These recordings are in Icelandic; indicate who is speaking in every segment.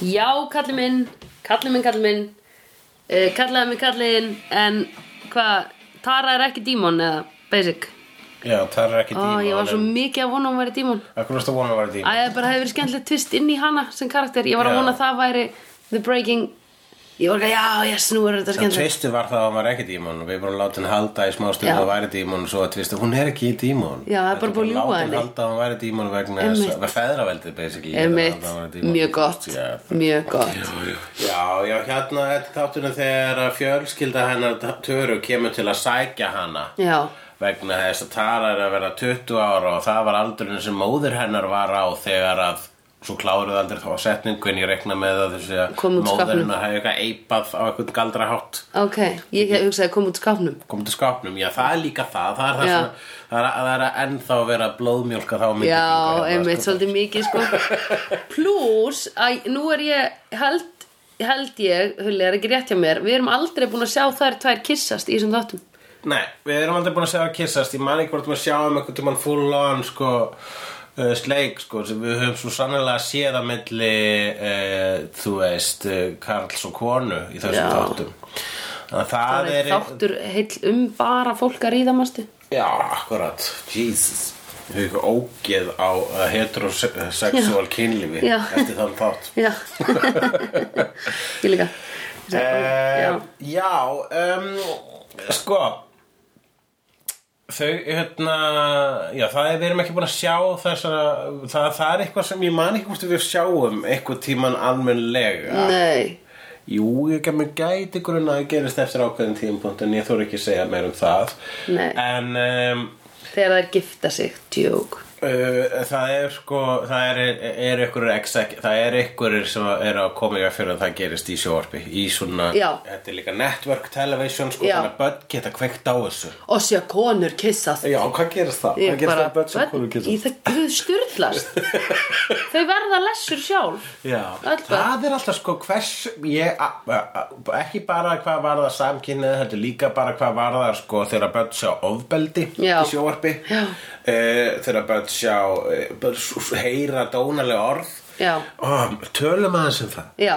Speaker 1: kallið minn, kallið minn, kallið minn, uh, kallaði mig kalliðinn, en hvað, Tara er ekki dímon eða basic?
Speaker 2: Já, það er ekki
Speaker 1: Ó,
Speaker 2: díma
Speaker 1: ég var svo mikið að vona að hún væri dímon.
Speaker 2: Akkur varst að vona að
Speaker 1: Æ,
Speaker 2: vera díma
Speaker 1: það bara hefði verið skemmtilegt tvist inn í hana sem karakter. Ég var að
Speaker 2: Já.
Speaker 1: vona að það væri the breaking, ég var ekki að, já, yes, nú er þetta
Speaker 2: Það
Speaker 1: skemmtilegt.
Speaker 2: tvistið var það að hún var ekki dímon Við vorum látið hann halda í smá stund
Speaker 1: Já.
Speaker 2: að hún væri dímon og svo að tvistið, hún er ekki dímon
Speaker 1: Já, það er bara búið að ljúga
Speaker 2: Látið hann
Speaker 1: henni.
Speaker 2: halda að hún væri dímon vegna
Speaker 1: Einmitt.
Speaker 2: þess að feðraveldið basically
Speaker 1: Einmitt,
Speaker 2: Þetta var dímon.
Speaker 1: mjög gott,
Speaker 2: Já,
Speaker 1: mjög gott.
Speaker 2: Já, já, hérna þetta er þáttunum þegar að fjölskylda hennar Töru kemur til að sækja hana
Speaker 1: Já,
Speaker 2: vegna þess að Tara er að vera 20 ára og það var aldurinn sem móðir hennar var á þegar að svo kláruðu aldrei þá setningu en ég rekna með að þessi að
Speaker 1: Kom út
Speaker 2: móðir
Speaker 1: skápnum.
Speaker 2: hennar hefði eitthvað eipað á eitthvað galdra hátt
Speaker 1: ok, ég hugsaði að koma út skápnum.
Speaker 2: komið til skápnum, já það er líka það það er, það
Speaker 1: Já.
Speaker 2: svona, það er, það er að ennþá vera blóðmjólka þá hérna, myndi
Speaker 1: Já, einmitt, svolítið mikið sko Plus, að nú er ég held, held ég, Hulli, er ekki rétt hjá mér Við erum aldrei búin að sjá þær tvær kissast í þessum þáttum
Speaker 2: Nei, við erum aldrei búin að segja að kissast Ég man ekki hvort maður sjáum einhvern tímann full on sko, uh, sleik sko, sem við höfum svo sannlega séð að milli uh, þú veist uh, Karls og konu í þessum
Speaker 1: Já.
Speaker 2: þáttum Þannig að það,
Speaker 1: Það
Speaker 2: er
Speaker 1: er þáttur heill um bara fólk að ríða mástu
Speaker 2: Já, akkurat, Jesus Við höfum eitthvað ógeð á uh, heterosexual kynlífi
Speaker 1: Já.
Speaker 2: eftir þann þátt
Speaker 1: Já Ég líka
Speaker 2: Eh,
Speaker 1: Já.
Speaker 2: já, um, sko þau, hérna já, það er, við erum ekki búin að sjá þessara, það, það er eitthvað sem ég man ekki hvort við sjáum eitthvað tíman almennlega
Speaker 1: Nei,
Speaker 2: Jú, ég gæm mig gæti grunna að það gerist eftir ákveðin tímpúnt en ég þóra ekki að segja meir um það
Speaker 1: Nei.
Speaker 2: en um,
Speaker 1: þegar þær gifta sig, tjók
Speaker 2: Uh, það er sko það er, er ykkur exec, það er ykkur sem er að koma í að fyrir að það gerist í sjóarpi í svona,
Speaker 1: Já.
Speaker 2: þetta er líka network television sko,
Speaker 1: Já.
Speaker 2: þannig að börn geta kveikt á þessu
Speaker 1: Og sé að konur kissast
Speaker 2: Já, hvað gerist það?
Speaker 1: Ég bara- Í það, þau styrlast Þau verða lessur sjálf
Speaker 2: Já,
Speaker 1: Öll börn.
Speaker 2: það er alltaf sko hvers ég, a, a, a, ekki bara hvað var það samkynnið, heldur líka bara hvað var það sko þegar börn sjá ofbeldi
Speaker 1: Já.
Speaker 2: í sjóarpi
Speaker 1: Já.
Speaker 2: þegar börn sjá eh, börn s- heyra dónalega orð
Speaker 1: Já,
Speaker 2: Ó, tölum aðeins um það
Speaker 1: já,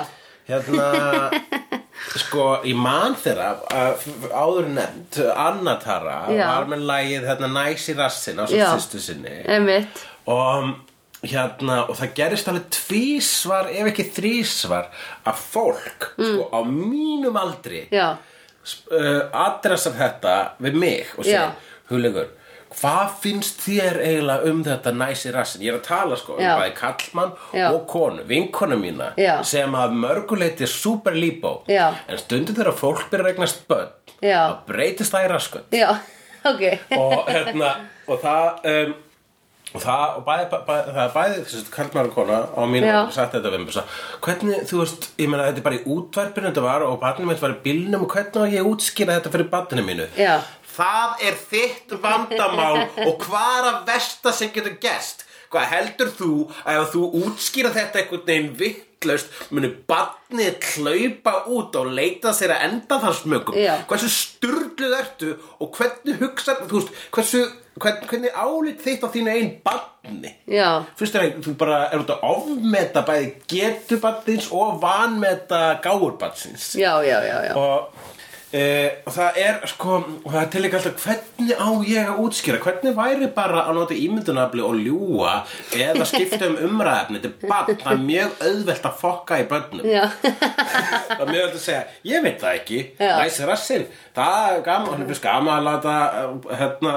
Speaker 2: Hérna, sko, í mann þeirra, að- áður nefnt, Anna Tara
Speaker 1: Já.
Speaker 2: var með lagið hérna, næs í rassin á svo
Speaker 1: Já.
Speaker 2: sýstu sinni
Speaker 1: einmitt
Speaker 2: og, hérna, og það gerist alveg tvísvar, ef ekki þrísvar, að fólk, sko, á mínum aldri,
Speaker 1: Mm. Já,
Speaker 2: sp- uh, adressar þetta við mig og segir,
Speaker 1: Já.
Speaker 2: hugleikur hvað finnst þér eiginlega um þetta næsi rassin? Ég er að tala sko um
Speaker 1: Já.
Speaker 2: bæði kallmann
Speaker 1: Já.
Speaker 2: og konu, vinkonu mína
Speaker 1: Já.
Speaker 2: sem að mörguleiti er super líbó
Speaker 1: Já.
Speaker 2: en stundum þegar fólk byrja að regnast börn
Speaker 1: Já.
Speaker 2: þá breytist það í raskun
Speaker 1: já, ok
Speaker 2: og hérna og það um, og það, og bæði, bæði, það er bæði þessi kallmaður og kona á mín
Speaker 1: Já.
Speaker 2: og sagt þetta við mig, svo, hvernig, þú veist, ég meina þetta er bara í útvarpinu þetta var og barnum mitt var í bílnum og hvernig á ég að útskýra þetta fyrir barninu mínu
Speaker 1: Já.
Speaker 2: það er þitt vandamál og hvað er að versta sem getur gest hvað heldur þú að ef þú útskýra þetta einhvern veginn vittlaust muni barnið hlaupa út og leita sér að enda þar smökum
Speaker 1: Já.
Speaker 2: hversu styrluð ertu og hvernig hugsar þú veist, hversu, hvern, hvernig álit þitt á þínu einn barni
Speaker 1: Já,
Speaker 2: fyrst er að þú bara er út að ofmeta bæði getu barnins og vanmeta gáur barnsins
Speaker 1: já, já, já, já.
Speaker 2: og Uh, og það er sko og það er til ekki alltaf hvernig á ég að útskýra hvernig væri bara að nota ímyndunafli og ljúa eða skipta um umræðefni þetta er barn, það er mjög auðvelt að fokka í börnum
Speaker 1: Já,
Speaker 2: Það er mjög öll að segja, ég veit það ekki,
Speaker 1: Já.
Speaker 2: næs rassinn, það er gaman, hann er fyrst gaman að láta, uh, hérna,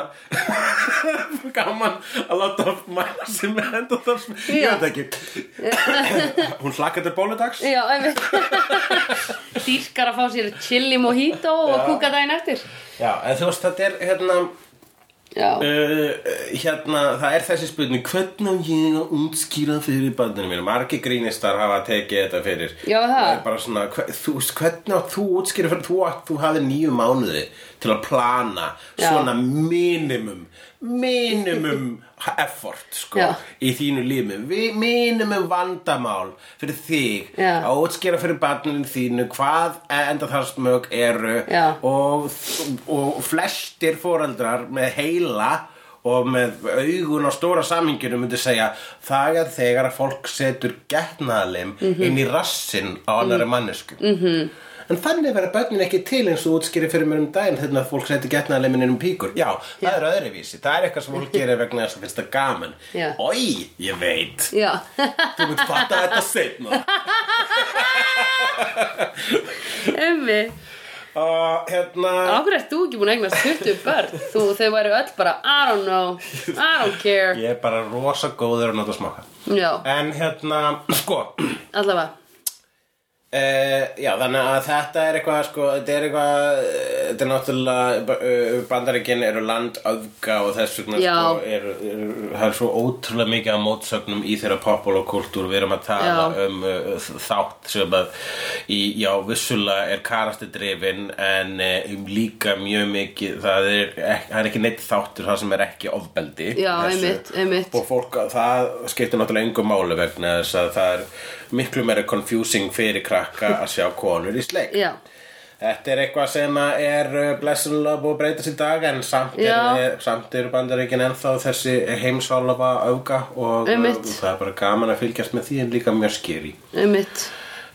Speaker 2: gaman að láta mæla sig með hendur þar sem, ég
Speaker 1: Já.
Speaker 2: veit það ekki, hún hlakka til bóludags,
Speaker 1: já, einmitt. Dýrkar að fá sér chili mojito og kúka daginn eftir.
Speaker 2: já, en þú veist, þetta er, hérna,
Speaker 1: Já,
Speaker 2: Uh, hérna, það er þessi spurning hvernig á ég að útskýra fyrir bandinu mínu, margi grínistar hafa tekið þetta fyrir
Speaker 1: Já, það.
Speaker 2: er bara svona, hver, þú, veist, hvernig átt þú útskýra fyrir þú, átt- þú hafði nýju mánuði til að plana
Speaker 1: Já.
Speaker 2: svona minimum minimum effort sko,
Speaker 1: Já.
Speaker 2: í þínu lími Vi- minimum vandamál fyrir þig
Speaker 1: Já.
Speaker 2: að útskýra fyrir bandinu þínu hvað enda þar smög eru
Speaker 1: Já.
Speaker 2: og, og flestir foreldrar með heila og með augun á stóra saminginu myndi segja það er þegar að fólk setur getnaðalim inn í rassinn á annari mannesku -hmm. en þannig verða börnin ekki til eins og þú útskýrir fyrir mér um daginn þegar að fólk setur getnaðalimin inn um píkur já, það er öðruvísi, það er eitthvað sem fólk gerir vegna þess að finnst það gaman
Speaker 1: Já.
Speaker 2: oi, ég veit
Speaker 1: Já,
Speaker 2: þú mynd fatta þetta setna
Speaker 1: emmi
Speaker 2: og hérna
Speaker 1: Áhverju ert þú ekki búin að eignast 20 börn? Þú, þau væri öll bara, I don't know, I don't care
Speaker 2: ég er bara rosa góður að nota smaka
Speaker 1: Já,
Speaker 2: en hérna, sko
Speaker 1: allavega
Speaker 2: Uh, já, þannig að þetta er eitthvað, sko, þetta er eitthvað, eh, þetta er náttúrulega, uh, bandaríkinn eru land öfga og þess vegna,
Speaker 1: Já.
Speaker 2: sko, er, er, það er svo ótrúlega mikið af mótsögnum í þeirra populokúltúr, við erum að tala
Speaker 1: Já.
Speaker 2: um uh, þátt sem að, í, já, vissulega er karasti drifin en uh, um líka mjög mikið, það er, ek, það er ekki neitt þáttur það sem er ekki ofbeldi.
Speaker 1: Já,
Speaker 2: Þessu-
Speaker 1: einmitt, einmitt.
Speaker 2: Og fólk, það skiptir náttúrulega engum máli vegna þess að það er miklu meira confusing fyrir krakka að sjá konur í sleik.
Speaker 1: Já,
Speaker 2: Þetta er eitthvað sem að er uh, blessunlega búið að breytast í dag en samt
Speaker 1: Já.
Speaker 2: er, eh, samt er bandaríkin ennþá þessi heimsválafa auka og uh,
Speaker 1: Einmitt.
Speaker 2: það er bara gaman að fylgjast með því en líka mjög skýri.
Speaker 1: einmitt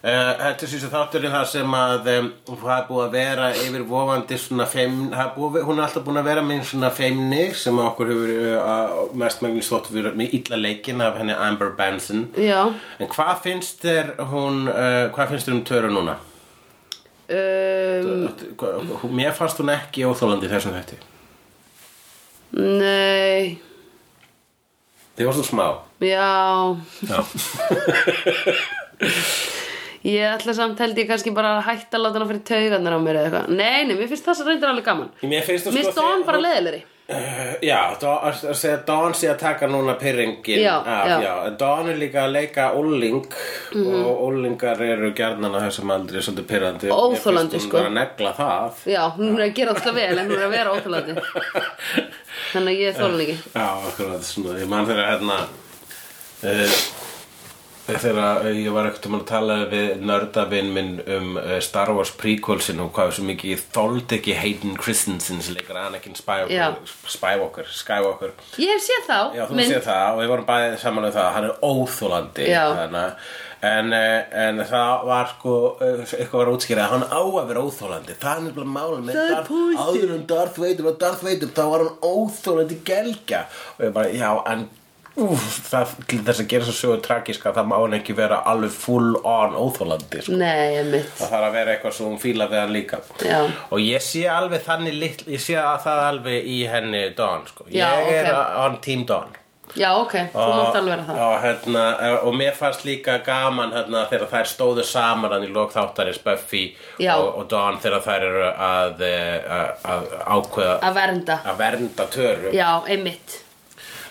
Speaker 2: Uh, þetta er síðan þátturinn það sem að um, það er búið að vera yfirvofandi svona feimni, það er búið, hún er alltaf búin að vera með svona feimni sem okkur hefur uh, mestmægnis þótt við með illa leikinn af henni Amber Benson
Speaker 1: Já
Speaker 2: En hvað finnst þér hún, uh, hvað finnst þér um Töru núna?
Speaker 1: um,
Speaker 2: Hvað- hún- Mér fannst hún ekki óþólandi í þessum þetta
Speaker 1: Nei,
Speaker 2: Þið varst þú smá
Speaker 1: já
Speaker 2: Já,
Speaker 1: Ég ætla samt held ég kannski bara að hætta að láta hana fyrir taugarnar á mér eða eitthvað Nei, nei, mér finnst það sem reyndir alveg gaman
Speaker 2: Mér finnst þú
Speaker 1: Mér
Speaker 2: sko
Speaker 1: finnst Dawn
Speaker 2: þið-
Speaker 1: bara leiðilegri
Speaker 2: Já, Dawn- að að segja að Dawn sé að taka núna pyrringin
Speaker 1: Já,
Speaker 2: af,
Speaker 1: já. Mhm.
Speaker 2: en Dawn er líka að leika óling og ólingar eru gjarnan á þessum aldrei svolítið pyrrandi
Speaker 1: Óþolandi, sko.
Speaker 2: Hún er að negla það
Speaker 1: Já, hún er að gera alltaf vel en hún er að vera óþjólandi Þannig að ég þólan ekki
Speaker 2: Já, akkurat, svona, ég man þegar hérna uh, þegar ég var ekkert um að tala við nördavinn minn um eh, Star Wars prequelsin og hvað sem ekki ég þóldi ekki Hayden Christensen sem leikar Anakin
Speaker 1: Já.
Speaker 2: Skywalker, Skywalker, Skywalker.
Speaker 1: Ég hef séð þá
Speaker 2: Já, þú
Speaker 1: mynd.
Speaker 2: séð það og við vorum bæðið saman um það hann er óþólandi
Speaker 1: Já.
Speaker 2: þannig, en, eh, en það var sko eh, eitthvað var útskýrað hann á að vera óþólandi það er nefnilega málum með
Speaker 1: Það er
Speaker 2: Darth-
Speaker 1: pointið.
Speaker 2: áður en Darth Vader var Darth Vader þá var hann óþólandi gelgja og ég bara já en úf, það, til þess að gera svo sögur tragíska það má hann ekki vera alveg full on óþólandi sko.
Speaker 1: Nei, einmitt
Speaker 2: það þarf að vera eitthvað svo hún fíla við hann líka
Speaker 1: Já.
Speaker 2: og ég sé alveg þannig litl, ég sé að það alveg í henni Dawn sko.
Speaker 1: Já,
Speaker 2: ég er
Speaker 1: ok.
Speaker 2: on team Dawn
Speaker 1: Já, ok, þú
Speaker 2: Ah.
Speaker 1: mátt alveg vera það
Speaker 2: og, hérna, og mér fannst líka gaman hérna, þegar þær stóðu saman hann í lok þáttarins Buffy
Speaker 1: Já.
Speaker 2: og, og Dawn þegar þær eru að, eh, að, að ákveða
Speaker 1: Að vernda
Speaker 2: að vernda töru
Speaker 1: Já, einmitt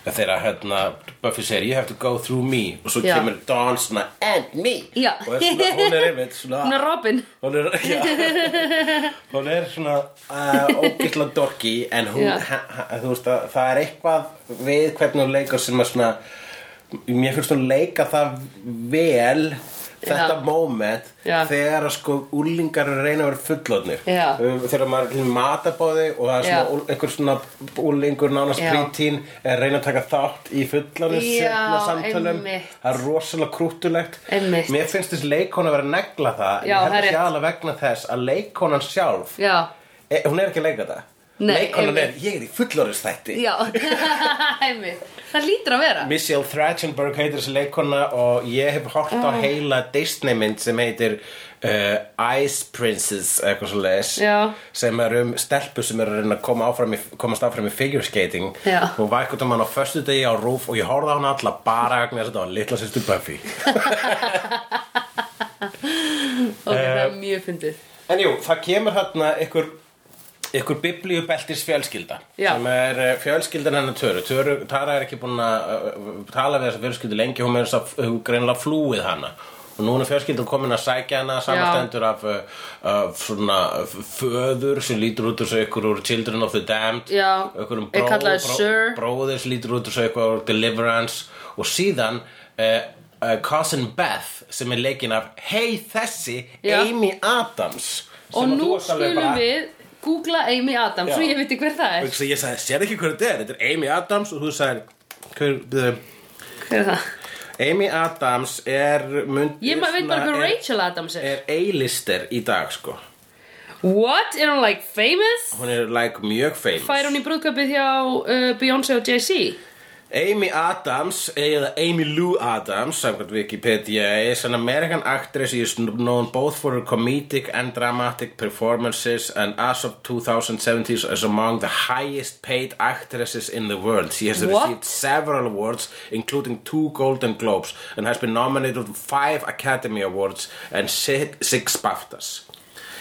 Speaker 2: þegar hérna, Buffy segir you have to go through me og svo
Speaker 1: Já.
Speaker 2: kemur Dawn svona and me
Speaker 1: Já.
Speaker 2: og er svona, hún er einmitt svona
Speaker 1: Hún er Robin
Speaker 2: Hún er, já, hún er svona uh, ógætla dorki en hún,
Speaker 1: Já.
Speaker 2: ha, ha, þú veist að það er eitthvað við hvernig hún leikar sem að svona mér finnst hún leika það vel þetta
Speaker 1: Já.
Speaker 2: moment
Speaker 1: Já.
Speaker 2: þegar að sko úlingar eru að reyna að vera fullotnir
Speaker 1: Já.
Speaker 2: þegar maður er til matabóði og það er
Speaker 1: Já.
Speaker 2: svona úl- einhver svona úlingur nánast
Speaker 1: Já.
Speaker 2: prítín er að reyna að taka þátt í fullotnir
Speaker 1: Já,
Speaker 2: samtölum
Speaker 1: einmitt.
Speaker 2: það er rosalega krúttulegt
Speaker 1: Einmitt.
Speaker 2: mér finnst þessi leikon að vera að negla það
Speaker 1: Já,
Speaker 2: ég
Speaker 1: það
Speaker 2: held
Speaker 1: er
Speaker 2: ekki
Speaker 1: rétt.
Speaker 2: aðalega vegna þess að leikkonan sjálf
Speaker 1: Já,
Speaker 2: e, hún er ekki að leika þetta
Speaker 1: Nei,
Speaker 2: leikkonan er,
Speaker 1: einmitt.
Speaker 2: ég er í fullorðustætti
Speaker 1: já, einmitt Það lítur að vera
Speaker 2: Michelle Trachtenberg heitir þessi leikona og ég hef hort
Speaker 1: Mm.
Speaker 2: á heila Disneymynd sem heitir uh, Ice Princess eitthvað svo leis
Speaker 1: Já.
Speaker 2: sem er um stelpu sem er að reyna að koma áfram í, komast áfram í figure skating
Speaker 1: Já.
Speaker 2: hún var eitthvað um hann á föstu degi á rúf og ég horfði á hann alla bara vegna þess að þetta var litla sýstu Buffy
Speaker 1: Ok, það er mjög fyndið
Speaker 2: En jú, það kemur þarna ykkur, ykkur biblíubeltis fjölskylda
Speaker 1: Já.
Speaker 2: sem er eh, fjölskyldan hennar Töru. Töru, Tara er ekki búin að eh, tala við þessa fjölskyldu lengi, hún er þess að hún greinlega flúið hana og núna er fjölskyldan komin að sækja hana samanstendur af, eh, af svona föður sem lítur út þessu ykkur úr Children of the Damned
Speaker 1: Já,
Speaker 2: ykkur um
Speaker 1: er
Speaker 2: bró,
Speaker 1: kallaður
Speaker 2: bró,
Speaker 1: Sir.
Speaker 2: bróðir sem lítur út þessu ykkur úr Deliverance og síðan uh, uh, Cousin Beth sem er leikin af hei þessi
Speaker 1: Já.
Speaker 2: Amy Adams
Speaker 1: Og
Speaker 2: sem að
Speaker 1: nú
Speaker 2: þú varst alveg
Speaker 1: skulum
Speaker 2: bara-
Speaker 1: við googla Amy Adams
Speaker 2: Já.
Speaker 1: svo ég veit hver það er
Speaker 2: Svo ég sagði, sér ekki hverju þetta er, þetta er Amy Adams og þú sagði, hver, byrðu,
Speaker 1: hver er það?
Speaker 2: Amy Adams er mynd,
Speaker 1: Ég maður veit bara hver
Speaker 2: svona- er-
Speaker 1: Rachel Adams er
Speaker 2: er A-lister í dag sko
Speaker 1: What? Er hún like famous?
Speaker 2: hún er like mjög famous
Speaker 1: Fær hún í brúðkapið hjá uh, Beyoncé og Jay-Z?
Speaker 2: Amy Adams eða Amy Lou Adams samkvæmt Wikipedia is an American actress who is known both for her comedic and dramatic performances and as of 2017 is among the highest paid actresses in the world she has
Speaker 1: What?
Speaker 2: received several awards including two Golden Globes and has been nominated for five Academy Awards and si- six BAFTAs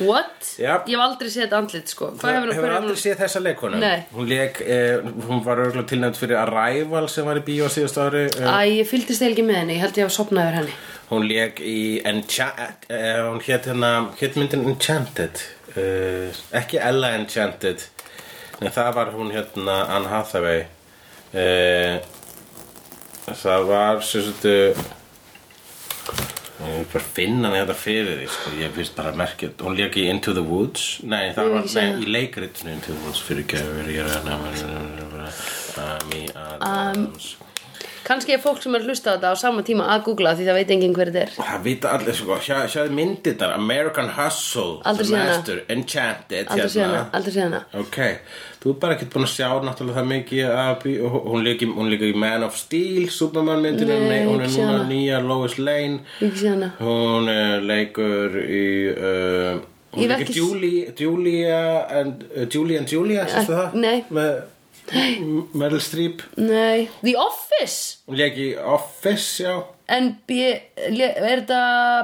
Speaker 1: What?
Speaker 2: Yep.
Speaker 1: Ég hef aldrei séð þetta andlit sko Hvað
Speaker 2: Hefur
Speaker 1: hefur hún?
Speaker 2: hefur
Speaker 1: hver
Speaker 2: aldrei séð þessa leikonu
Speaker 1: Nei.
Speaker 2: Hún leik, eh, hún var örgulega tilnæmt fyrir Arrival sem var í bíó síðast ári eh,
Speaker 1: Æ, ég fylgdist ekki með henni, ég held ég hafa sopnað yfir henni
Speaker 2: Hún leik í Enchant eh, Hún hétt hérna, hétt myndin Enchanted eh, Ekki Ella Enchanted Nei, það var hún hérna Anne Hathaway eh, Það var sem sagt eh, Ég vil bara finna hann þetta fyrir því sko. Ég finnst bara að merkja Hún leik í Into the Woods Nei,
Speaker 1: Ég
Speaker 2: það var
Speaker 1: vil ekki segja
Speaker 2: nei, í leikritinu Into the Woods fyrir gefur Ég er að nefna Ami Adams
Speaker 1: Kannski er fólk sem er að hlusta á þetta á sama tíma að googla því það veit enginn hver þetta er
Speaker 2: Það vita allir sko, sjá- sjáðu myndið þar American Hustle
Speaker 1: Aldrei séð hana.
Speaker 2: Master, Enchanted hérna.
Speaker 1: Aldrei séð hana, aldrei séð hana
Speaker 2: Ok, þú er bara ekkert búin að sjá náttúrulega það mikið að bí- og hún líka, hún líka í Man of Steel Superman myndinu,
Speaker 1: Nei,
Speaker 2: hún er
Speaker 1: ekki séð
Speaker 2: núna
Speaker 1: hana.
Speaker 2: nýja Lois Lane
Speaker 1: Ekki séð hana
Speaker 2: hún uh, leikur í uh,
Speaker 1: Ég
Speaker 2: hún
Speaker 1: hef
Speaker 2: leikur
Speaker 1: ekki-
Speaker 2: Julie, Julia and, uh, Julie and Julia, sérstu það?
Speaker 1: Eh, nei.
Speaker 2: Með Meryl Streep
Speaker 1: Nei The Office
Speaker 2: hún leik í Office, já
Speaker 1: En B- er þetta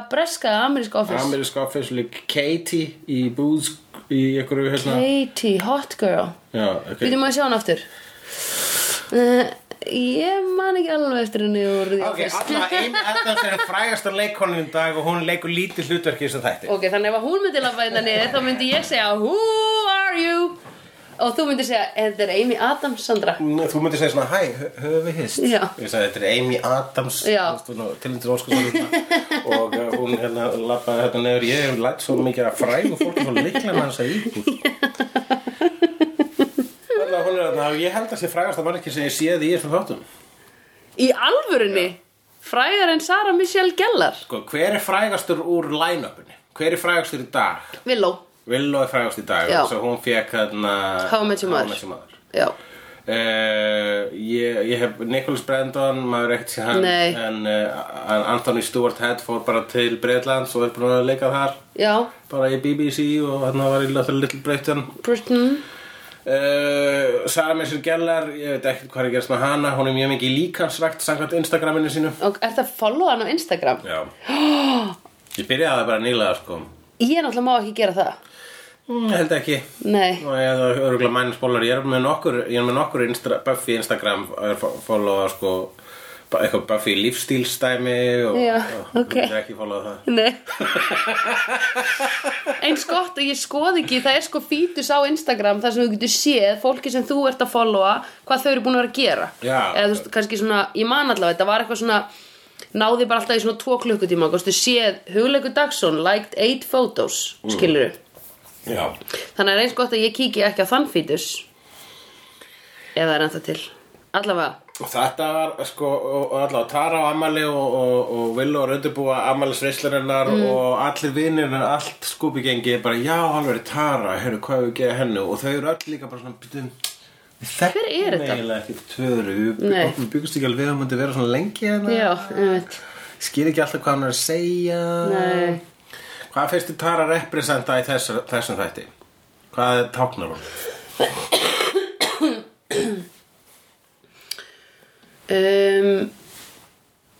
Speaker 1: breska eða ameríska Office?
Speaker 2: Amerísk Office lík Katie í Boots í einhverju hérna
Speaker 1: Katie, hot girl
Speaker 2: Já, ok
Speaker 1: Býtum maður að sjá hana aftur uh, Ég man ekki alveg eftir henni úr The
Speaker 2: Ok,
Speaker 1: Office
Speaker 2: Anna, einn Adams er frægasta leikonin í dag og hún leikur lítið hlutverki í þessu þætti
Speaker 1: Ok, þannig ef að hún myndi labba hérna niður þá myndi ég segja Who are you? Og þú myndi segja, "Er þetta er Amy Adams, Sandra
Speaker 2: Mm, Þú myndir segja svona, hæ, hö- höfum við hist?
Speaker 1: Já.
Speaker 2: Ég sagði, þetta er Amy Adams
Speaker 1: Já.
Speaker 2: Tilindur Óskarsson og uh, hún hérna lappaði hérna nefur ég hef lætt svo mikið að frægu fólk og líklega með hans að íbúð Þannig að hún er hérna, ég held að sé frægasta mannekki sem ég séð í þessum þáttum
Speaker 1: Í alvörunni? Fræðar en Sara Michelle Gellar
Speaker 2: Sko, hver er frægastur úr line-upinni? Hver er frægastur í dag?
Speaker 1: Villó,
Speaker 2: Willow er frægast í dag
Speaker 1: Já.
Speaker 2: Svo hún fekk hérna
Speaker 1: How I Met Your Mother.
Speaker 2: Mother.
Speaker 1: já
Speaker 2: Uh, ég, ég hef Nicholas Brandon maður ekkert sé hann
Speaker 1: Nei.
Speaker 2: en uh, Anthony Stewart Head fór bara til Breitlands og er búin að leika þar
Speaker 1: Já,
Speaker 2: bara í BBC og hann var í Little Little Britain
Speaker 1: Britain
Speaker 2: uh, Sarah Michelle Gellar ég veit ekkert hvað er að gerast með hana hún er mjög mikið líkansvægt samkvæmt Instagraminu sínu
Speaker 1: Og er það follow hann á Instagram?
Speaker 2: já ég byrjaði bara nýlega sko
Speaker 1: Ég náttúrulega má ekki gera það
Speaker 2: mm, held ekki
Speaker 1: Nei,
Speaker 2: og ég er örgulega mænspólar ég er með nokkur, ég er með nokkur instra, Buffy Instagram er fo- followa sko ba- eitthvað Buffy lífstílstæmi og,
Speaker 1: Já,
Speaker 2: og
Speaker 1: ok.
Speaker 2: ég er ekki followa það
Speaker 1: nei Eins gott að ég skoði ekki Það er sko fítus á Instagram þar sem þú getur séð fólki sem þú ert að followa hvað þau eru búin að vera að gera
Speaker 2: Já.
Speaker 1: Eða þú veist, kannski svona, ég man allavega þetta var eitthvað svona náði bara alltaf í svona tvo klukkutíma kostu séð hugleiku dagsson liked 8 photos,
Speaker 2: Mm.
Speaker 1: skilur
Speaker 2: já,
Speaker 1: Þannig er eins gott að ég kíki ekki á þann fítus Ef það er ennþá til Allavega
Speaker 2: og þetta var sko og, og allavega Tara og Amali og, og, og Willow er undirbúa Amalis veislurinnar
Speaker 1: Mm.
Speaker 2: og allir vinir allt skúpi gengi bara já, alveg Tara, heyrðu hvað hefur geða hennu og þau eru öll líka bara svona byrjum Hver
Speaker 1: er þetta?
Speaker 2: Eiginlega ekkert tvöður, við,
Speaker 1: Nei.
Speaker 2: við byggumst ekki alveg að hún myndi vera svona lengi hérna.
Speaker 1: Já, einmitt
Speaker 2: skýr ekki alltaf hvað hann er að segja
Speaker 1: Nei.
Speaker 2: Hvað finnst þið Tara representa í þess, þessum þætti? Hvað táknar hún?
Speaker 1: um,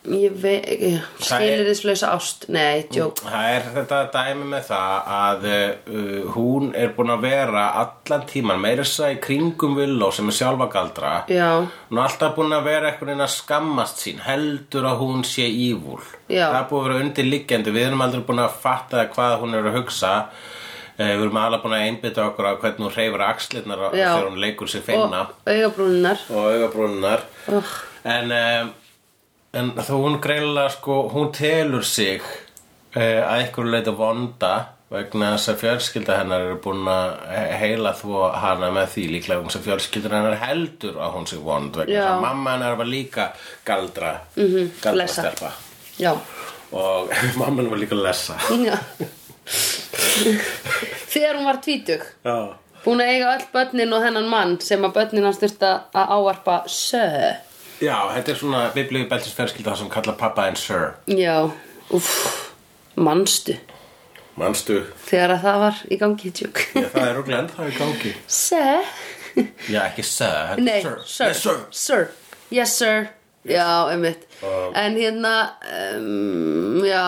Speaker 1: Ég veit
Speaker 2: Það er-
Speaker 1: Skilur þið slösa ást Nei, djók
Speaker 2: Það er þetta dæmi með það að uh, hún er búin að vera allan tíman meira þess að í kringum Villó sem er sjálfa galdra
Speaker 1: Já,
Speaker 2: Hún er alltaf búin að vera eitthvað einn að skammast sín heldur að hún sé ívúl
Speaker 1: Já.
Speaker 2: Það er búin að vera undirliggjandi Við erum aldrei búin að fatta hvað hún er að hugsa Eh, Við erum alveg búin að einbytta okkur að hvernig hún reyfur axlirnar á-
Speaker 1: Já.
Speaker 2: þegar hún leikur sig feimna
Speaker 1: og augabrúninar
Speaker 2: og augabrúnunar
Speaker 1: oh,
Speaker 2: en, um, en eh, þó hún greinlega sko, hún telur sig uh, að einhverju leita vonda vegna þess að fjölskylda hennar eru búin að he- heila þvó hana með því líklega vegna þess að fjölskylda hennar heldur að hún sé vond vegna
Speaker 1: Já.
Speaker 2: þess að mamma hennar var líka galdra
Speaker 1: Mhm,
Speaker 2: galdrasterpa
Speaker 1: Já,
Speaker 2: og mamma hennar var líka lessa
Speaker 1: já. Þegar hún var tvítug
Speaker 2: Já.
Speaker 1: Búin að eiga öll börnin og hennan mann sem að börnin hans þurft að ávarpa sö
Speaker 2: Já, þetta er svona biblíu beltis fjölskylda sem kalla pappa en sir
Speaker 1: Já, uff, manstu
Speaker 2: Manstu?
Speaker 1: Þegar að það var í gangi tjúk
Speaker 2: Já, það er rúglega ennþá í gangi
Speaker 1: Sö
Speaker 2: Já, ekki sir, þetta er
Speaker 1: Nei,
Speaker 2: sir
Speaker 1: sir,
Speaker 2: Nei, sir
Speaker 1: sir. Yes, sir Já, einmitt En hérna, um, já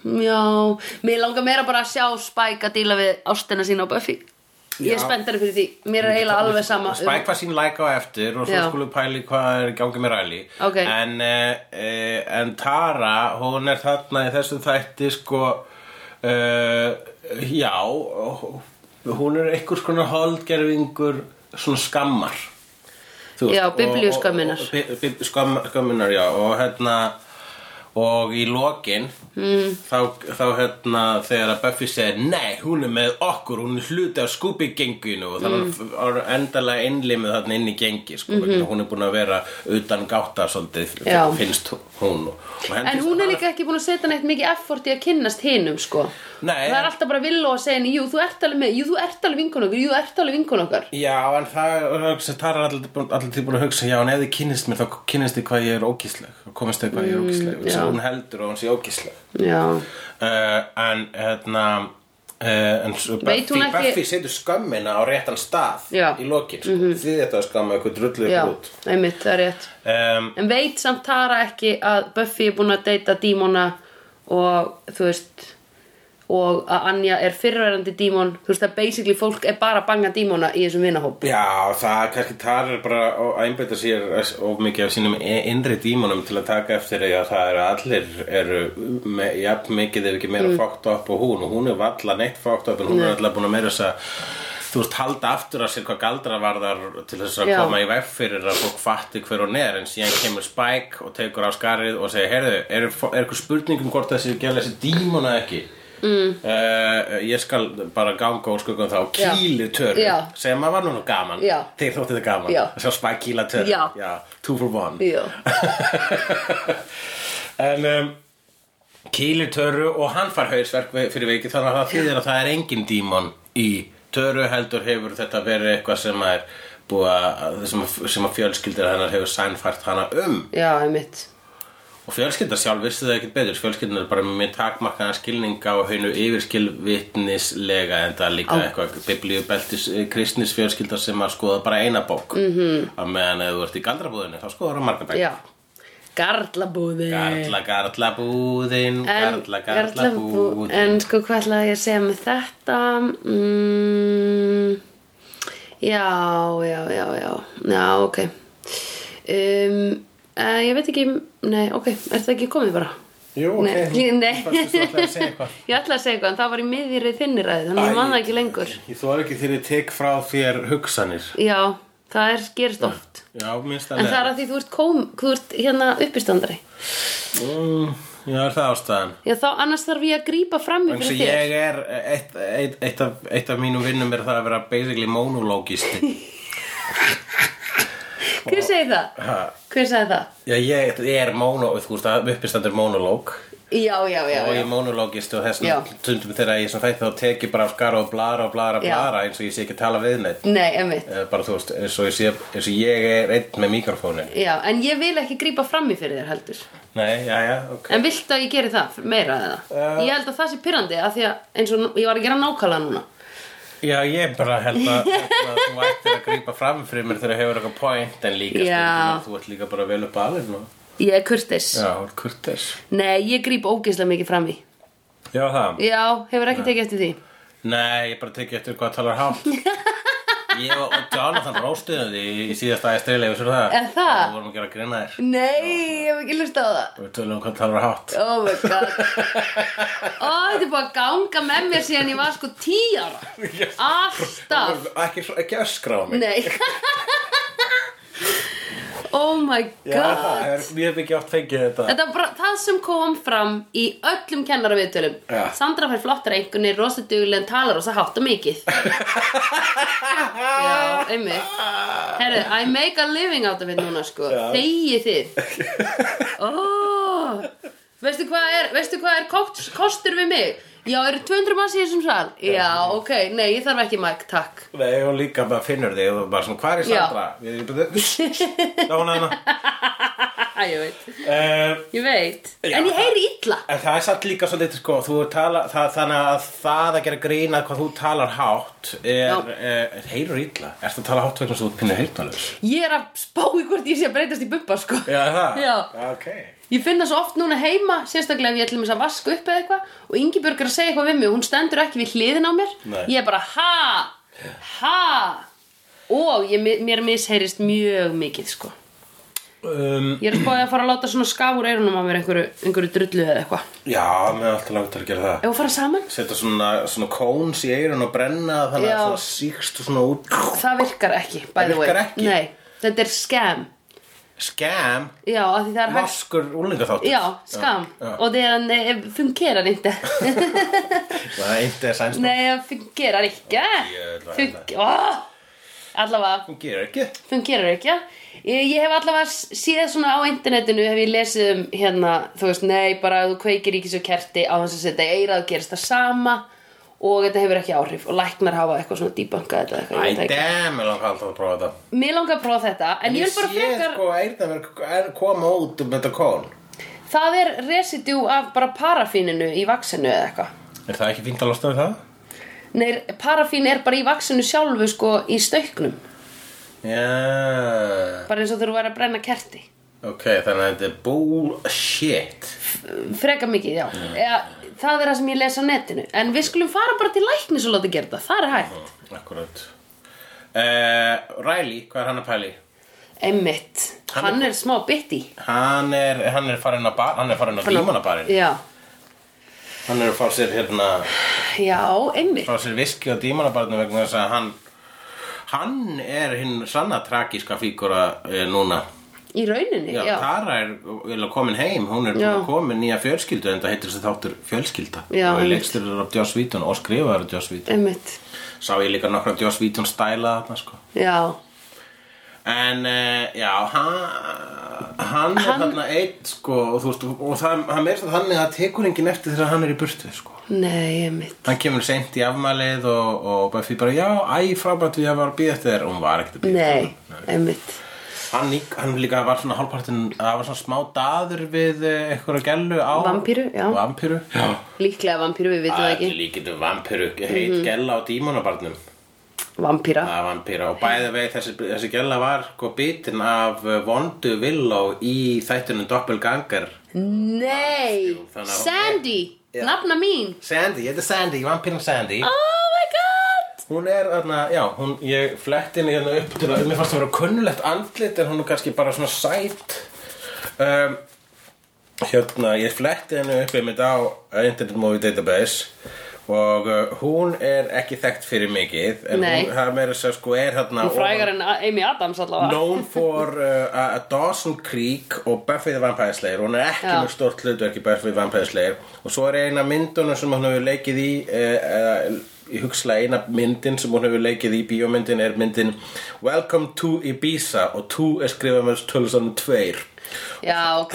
Speaker 1: Já, mér langar meira bara að sjá Spike að díla við ástina sína á Buffy Ég er
Speaker 2: Já.
Speaker 1: spenntari fyrir því Mér er eiginlega alveg sama um-
Speaker 2: Spike var sín læka á eftir og svo
Speaker 1: Já.
Speaker 2: skulum pæli hvað er í gangi með Riley
Speaker 1: Ok.
Speaker 2: en, uh, en Tara, hún er þarna í þessu þætti sko uh, já hún er einhvers konar holdgerfingur svona skammar Þú veist,
Speaker 1: Já,
Speaker 2: og-
Speaker 1: biblíuskömmunar.
Speaker 2: og- og- bi- bi- skömm, Skömmunar, já og hérna og í lokin mm. þá, þá hérna þegar að Buffy segir nei, hún er með okkur, hún er hluti af Scooby-genginu og þannig mm. endalega innlimið þarna inn í gengi sko, mm hún er búin að vera utan gáta svolítið,
Speaker 1: Mhm. Já.
Speaker 2: finnst hún og, og henni
Speaker 1: En
Speaker 2: finnst
Speaker 1: hún er
Speaker 2: það-
Speaker 1: líka ekki búin að setja neitt mikið effort í að kynnast hinum, sko.
Speaker 2: Nei.
Speaker 1: Það er alltaf bara vill og að segja henni, jú, þú ert alveg með, jú, þú ert alveg vinkun okkur, jú, þú ert alveg vinkun okkur.
Speaker 2: Já, en það, hugsa, það er allir, búin- allir tíð búin að hugsa, já, en ef þið kynnist mér, þá kynnist þið hvað ég er ógísleg, komist þið hvað ég er ógísleg, mm,
Speaker 1: já.
Speaker 2: hún heldur og hún sé ógísleg.
Speaker 1: Já.
Speaker 2: uh, en hérna Uh, en svo
Speaker 1: Veit
Speaker 2: Buffy,
Speaker 1: hún ekki-
Speaker 2: Buffy setur skömmina á réttan stað
Speaker 1: Já. Mhm.
Speaker 2: í lokin, sko. því þetta að skamma eitthvað drullið
Speaker 1: Já,
Speaker 2: út
Speaker 1: einmitt, það er rétt.
Speaker 2: um,
Speaker 1: En veit samt Tara ekki að Buffy er búin að deyta dímona og, þú veist, og að Anja er fyrrverandi dímon. Þú veist, að basically fólk er bara að banga dímona í þessum vinahóp.
Speaker 2: Já, það er kannski þar er bara að einbytta sér of mikið af sínum innri dímonum til að taka eftir því að það eru allir eru með, jafn mikið ef ekki meira mm. fókt upp og hún og hún er valla neitt fókt upp en hún er alltaf búin að meira þess að þú veist halda aftur að sér hvað galdra varðar til þess að
Speaker 1: Já.
Speaker 2: koma í veg fyrir að fólk fatti hver hún er en síðan kemur Spike og tekur á skarið og segir heyrðu, er, er eitthvað spurning um hvort þessi gæla þessi dímona ekki mm. ég skal bara ganga úr skuggum þá
Speaker 1: Já.
Speaker 2: kýli törn
Speaker 1: Já.
Speaker 2: sem að var nú nú gaman
Speaker 1: Já.
Speaker 2: þeir þótti þetta gaman
Speaker 1: Já.
Speaker 2: að sjá Spike kýla törn
Speaker 1: Já.
Speaker 2: two for one
Speaker 1: Já.
Speaker 2: en um, kýlir törru og hann far hausverk við- fyrir veiki þannig að það þýðir að það er engin dímon í törru heldur hefur þetta verið eitthvað sem er búa, sem, sem að fjölskyldir hennar hefur sænfært hana um
Speaker 1: Já, einmitt.
Speaker 2: og fjölskyldar sjálf vissi það ekkert betur fjölskyldar er bara með mjög takmarkaðan skilninga og haunu yfirskilvitnislega en það er líka eitthvað biblíubeltis eh, kristnis fjölskyldar sem að skoða bara eina bók mm -hmm. að meðan ef þú ert í galdrabúðinu þá skoðar það marga bæk
Speaker 1: Mhm. Já. Garlabúði.
Speaker 2: Garla, garla búðin,
Speaker 1: En-
Speaker 2: garla, garla
Speaker 1: bú-
Speaker 2: búðin
Speaker 1: En sko hvað ætlaði ég að segja með þetta mm, Já, já, já, já Já, ok um, uh, Ég veit ekki Nei, ok, er það ekki komið bara?
Speaker 2: Jú, ok,
Speaker 1: Nei, ég- nei.
Speaker 2: fannst þú ætlaðir að segja eitthvað.
Speaker 1: Ég ætlaði að segja eitthvað, en það var í miðjri þinni ræði Þannig að
Speaker 2: Æ,
Speaker 1: ég man það ekki lengur
Speaker 2: Ég þóra ekki þegar ég tek frá þér hugsanir
Speaker 1: Já, það er gerist oft
Speaker 2: Já, minnst að
Speaker 1: En það er að því þú ert, kom, þú ert hérna uppistandari
Speaker 2: mm, Já, er það ástæðan
Speaker 1: Já, þá annars þarf ég að grípa fram í
Speaker 2: Þannig
Speaker 1: fyrir
Speaker 2: að
Speaker 1: þér
Speaker 2: ég er, eitt, eitt, eitt, af, eitt af mínum vinnum er það að vera basically monologisti.
Speaker 1: Hver segi það?
Speaker 2: Ha,
Speaker 1: Hver segi það?
Speaker 2: já, ég, ég er monolog, þú veist að uppistandur monolog
Speaker 1: Já, já, já,
Speaker 2: og
Speaker 1: já.
Speaker 2: ég er monologisti og þess
Speaker 1: Já.
Speaker 2: vegna stundum þegar ég sem þætti þá tek ég bara af skara og blara og blara og
Speaker 1: Já.
Speaker 2: blara eins og ég sé ekki að tala við neitt.
Speaker 1: Nei, einmitt
Speaker 2: Eh, Bara þú veist, eins og ég, sé, eins og ég er einn með mikrofónin.
Speaker 1: Já, en ég vil ekki grípa fram í fyrir þér heldur
Speaker 2: Nei, já, já, ok.
Speaker 1: En viltu að ég geri það meira eða?
Speaker 2: Eh.
Speaker 1: Ég held að það sé pyrrandi af því að eins og nú- ég var að gera nákvæmlega núna
Speaker 2: Já, ég bara held að, held að þú ættir að grípa fram fyrir mér þegar þú hefur eitthvað point en líka
Speaker 1: Já.
Speaker 2: stundum að þú ert líka bara vel upp alveg nú.
Speaker 1: Ég er kurtis
Speaker 2: Já, þú ert kurteis.
Speaker 1: Nei, ég gríp ógeðslega mikið fram í
Speaker 2: Já, það.
Speaker 1: Já, hefur ekki tekið eftir því
Speaker 2: Nei, ég bara tekið eftir hvað talar hátt Ég og og Jonathan róstuðum því í- í síðasta aðeins dreilega Svo það
Speaker 1: Er það?
Speaker 2: Við vorum að gera grina þér
Speaker 1: Nei, ég hef ekki lust á það
Speaker 2: Við tölum um hvað talar hátt
Speaker 1: Oh my god Ó, þetta er búið að ganga með mér síðan ég var sko tí ára Alltaf
Speaker 2: Ekki, ekki öskra á
Speaker 1: Nei Ó, Oh my god
Speaker 2: Já, það er, ég hef ekki oft fengið þetta
Speaker 1: Þetta var bara það sem kom fram í öllum kennaraviðtölum
Speaker 2: Já.
Speaker 1: Sandra fær flottar einhvernig, rosaduglegin, talar rosa hátt og mikið Já, einmitt Herru, I make a living out of it núna sko Þegi þið oh. Veistu hvað er, veistu hvað er kost, kostur við mig? Já, eru 200 manns í þessum sal? Já, ok, nei, ég þarf ekki mæk, takk
Speaker 2: Nei, og líka bara finnur þig og bara svona, hvað er Sandra? Ég byrði, þá hún hana
Speaker 1: Æ, ég veit,
Speaker 2: Eh,
Speaker 1: ég veit
Speaker 2: Já.
Speaker 1: En ég heyri illa
Speaker 2: En það er satt líka svolítið, sko, þú tala, það, þannig að það að gera grína hvað þú talar hátt er,
Speaker 1: Já.
Speaker 2: er, heyrur illa. Ertu að tala hátt vegna svo þú pinnur heyrnalus?
Speaker 1: Ég er að spá í hvort ég sé að breytast í bubba, sko
Speaker 2: Já, það?
Speaker 1: Já.
Speaker 2: Ok.
Speaker 1: Ég finna svo oft núna heima, sérstaklega ef ég ætlum að vaska upp eða eitthvað og Ingibjörg er að segja eitthvað við mig og hún stendur ekki við hliðin á mér
Speaker 2: Nei.
Speaker 1: Ég er bara ha, ha og ég, mér misheyrist mjög mikið sko
Speaker 2: Um,
Speaker 1: Ég er að spáði að fara að láta svona skaf úr eyrunum á mér einhverju, einhverju drullu eða eitthvað
Speaker 2: já, með alltaf langt að gera það.
Speaker 1: Ef að fara saman?
Speaker 2: Setta svona, svona kóns í eyrun og brenna þannig
Speaker 1: Já.
Speaker 2: að það síkst svona út.
Speaker 1: Það virkar ekki, by
Speaker 2: Það
Speaker 1: the way
Speaker 2: virkar ekki?
Speaker 1: Nei, þetta er scam
Speaker 2: Scam.
Speaker 1: Já, af því það er hægt
Speaker 2: Vaskur úlingaþáttur.
Speaker 1: Já, skam
Speaker 2: Já.
Speaker 1: Og það eh, fungerar inte
Speaker 2: Það er eint eða sænst.
Speaker 1: Nei, það fungerar ekki
Speaker 2: Ég ætla að
Speaker 1: Fung... Oh! Allavega,
Speaker 2: Hún gerir ekki.
Speaker 1: fungerar Eh, ekki Ég ég hef allavega s- séð svona á internetinu hef ég lesið um hérna þú veist, nei, bara ef þú kveikir ekki svo kerti á þess að setja í eyrað gerist það sama og þetta hefur ekki áhrif og læknar hafa eitthvað svona dýbanka þetta eitthvað,
Speaker 2: Æ,
Speaker 1: ég veit það
Speaker 2: damn, ég langar alltaf að prófa þetta.
Speaker 1: ekki Mér langar að prófa þetta en ég vil bara
Speaker 2: sé,
Speaker 1: frekar
Speaker 2: sko, eyrnaverk er koma út um þetta kón.
Speaker 1: það er residue af bara parafíninu í vaksinu eða eitthvað
Speaker 2: Er það ekki fínt að losna við það?
Speaker 1: Nei, parafín er bara í vaksinu sjálfu sko í stökknum
Speaker 2: Já,
Speaker 1: bara eins og þú væri að brenna kerti
Speaker 2: ok, þannig að þetta er bullshit
Speaker 1: freka mikið, já Eða, það er það sem ég les á netinu en við skulum fara bara til læknis og láta gera það það er hægt,
Speaker 2: Mm, Akkurat uh, Riley, hvað er hann að pæli?
Speaker 1: einmitt
Speaker 2: Hann
Speaker 1: hann,
Speaker 2: er-
Speaker 1: er smá bitti
Speaker 2: Hann er, hann er farin að bar, hann er farin að dímanabarinn
Speaker 1: já,
Speaker 2: Hann er að fá sér hérna
Speaker 1: já, einmitt
Speaker 2: fá sér viski á dímanabarinn vegna þess að hann hann er hinn sanna tragíska fígura uh, núna
Speaker 1: í rauninni,
Speaker 2: Já,
Speaker 1: já, já.
Speaker 2: Tara er vel komin heim, hún er
Speaker 1: Já.
Speaker 2: búin að komin nýja fjölskyldu en það heitir þessi þáttur fjölskylda
Speaker 1: Já,
Speaker 2: og
Speaker 1: einmitt.
Speaker 2: leikstur er af Joss Whedon og skrifaður af Joss Whedon
Speaker 1: einmitt
Speaker 2: Sá ég líka nokkra Joss Whedon stæla þarna sko
Speaker 1: já,
Speaker 2: En uh, já, hann, hann er þarna einn sko og, þú veist, og það, hann er það þannig að það tekur enginn eftir þegar hann er í burtu sko
Speaker 1: nei, einmitt
Speaker 2: Hann kemur seint í afmælið og, og Buffy bara já, æ, frábært við að var að býða eftir þér og hún var ekkert að býða
Speaker 1: nei, einmitt
Speaker 2: hann, lík- hann líka var svona hálfpartin, það var svona smá daður við eh, einhverja gellu á
Speaker 1: Vampíru, já.
Speaker 2: Vampíru, já
Speaker 1: líklega vampíru, við vitum
Speaker 2: Það
Speaker 1: það
Speaker 2: er ekki
Speaker 1: ekki Mhm.
Speaker 2: líkindu vampíru, heit gella á dímonabarnum
Speaker 1: vampíra,
Speaker 2: af vampýra og bæði vei þessi, þessi gæla var sko bitin af eh, vondu villó í þættunum doppelganger
Speaker 1: nei
Speaker 2: Jú, þannig að-
Speaker 1: Sandy,
Speaker 2: Já.
Speaker 1: nafna mín
Speaker 2: Sandy, ég heiti Sandy, vampýrin Sandy
Speaker 1: oh my god
Speaker 2: hún er þarna, já, hún, ég fletti henni hérna upp til að, mér fannst það vera kunnulegt andlit en hún er kannski bara svona sæt um, hérna, ég fletti henni upp einmitt á Internet Movie Database og uh, hún er ekki þekkt fyrir mikið en
Speaker 1: Nei.
Speaker 2: hún, það meira sér sko er hérna
Speaker 1: hún frægar en Amy Adams allavega
Speaker 2: known for uh, a- a Dawson Creek og Buffy the Vampire Slayer hún er ekki
Speaker 1: Já.
Speaker 2: með stort hlutverk í Buffy the Vampire Slayer og svo er eina myndunum sem hún hefur leikið í uh, eða ég hugsla eina myndin sem hún hefur leikið í bíómyndin er myndin Welcome to Ibiza og 2 er skrifað með tölsanum 2
Speaker 1: Já, ok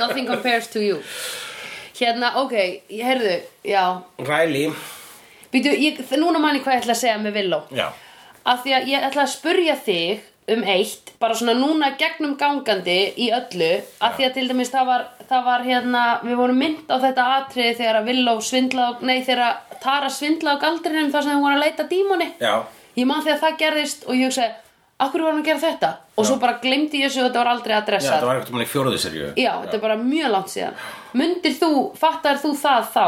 Speaker 1: Nothing compares to you Hérna, ok, ég heyrðu, já
Speaker 2: Riley
Speaker 1: Býtu, ég, núna manni hvað ég ætla að segja með Villó
Speaker 2: já,
Speaker 1: Af því að ég ætla að spurja þig um eitt Bara svona núna gegnum gangandi í öllu Af því að til dæmis það var, það var hérna Við vorum mynd á þetta atriði þegar að Villó svindla á Nei, þegar að Tara svindla á galdrinum þar sem hún var að leita dímoni
Speaker 2: já
Speaker 1: Ég man þegar það gerðist og ég hugsaði Akkur var hann að gera þetta? Og svo bara glemdi ég þessu og þetta var aldrei
Speaker 2: Já,
Speaker 1: adressað
Speaker 2: þetta var ekkert mann í fjóruðu serju
Speaker 1: Já, þetta er bara mjög langt síðan Mundir þú, fattar þú það þá?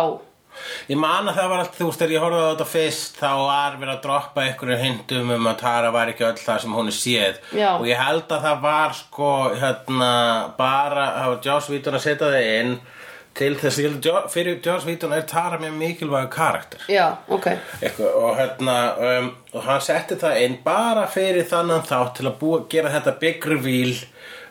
Speaker 2: Ég man að það var allt, þú veist, þegar ég horfði á þetta fyrst þá var verið að droppa einhverju hindum um að Tara var ekki öll það sem hún er séð
Speaker 1: Já.
Speaker 2: og ég held að það var sko, hérna, bara það var Joss Vítur að setja það inn til þess ég held að Jo- fyrir George Whedon er Tara mjög mikilvæg karakter
Speaker 1: Já, ok
Speaker 2: Eitthvað, og hérna um, og hann setti það inn bara fyrir þannan þá til að búa, gera þetta big reveal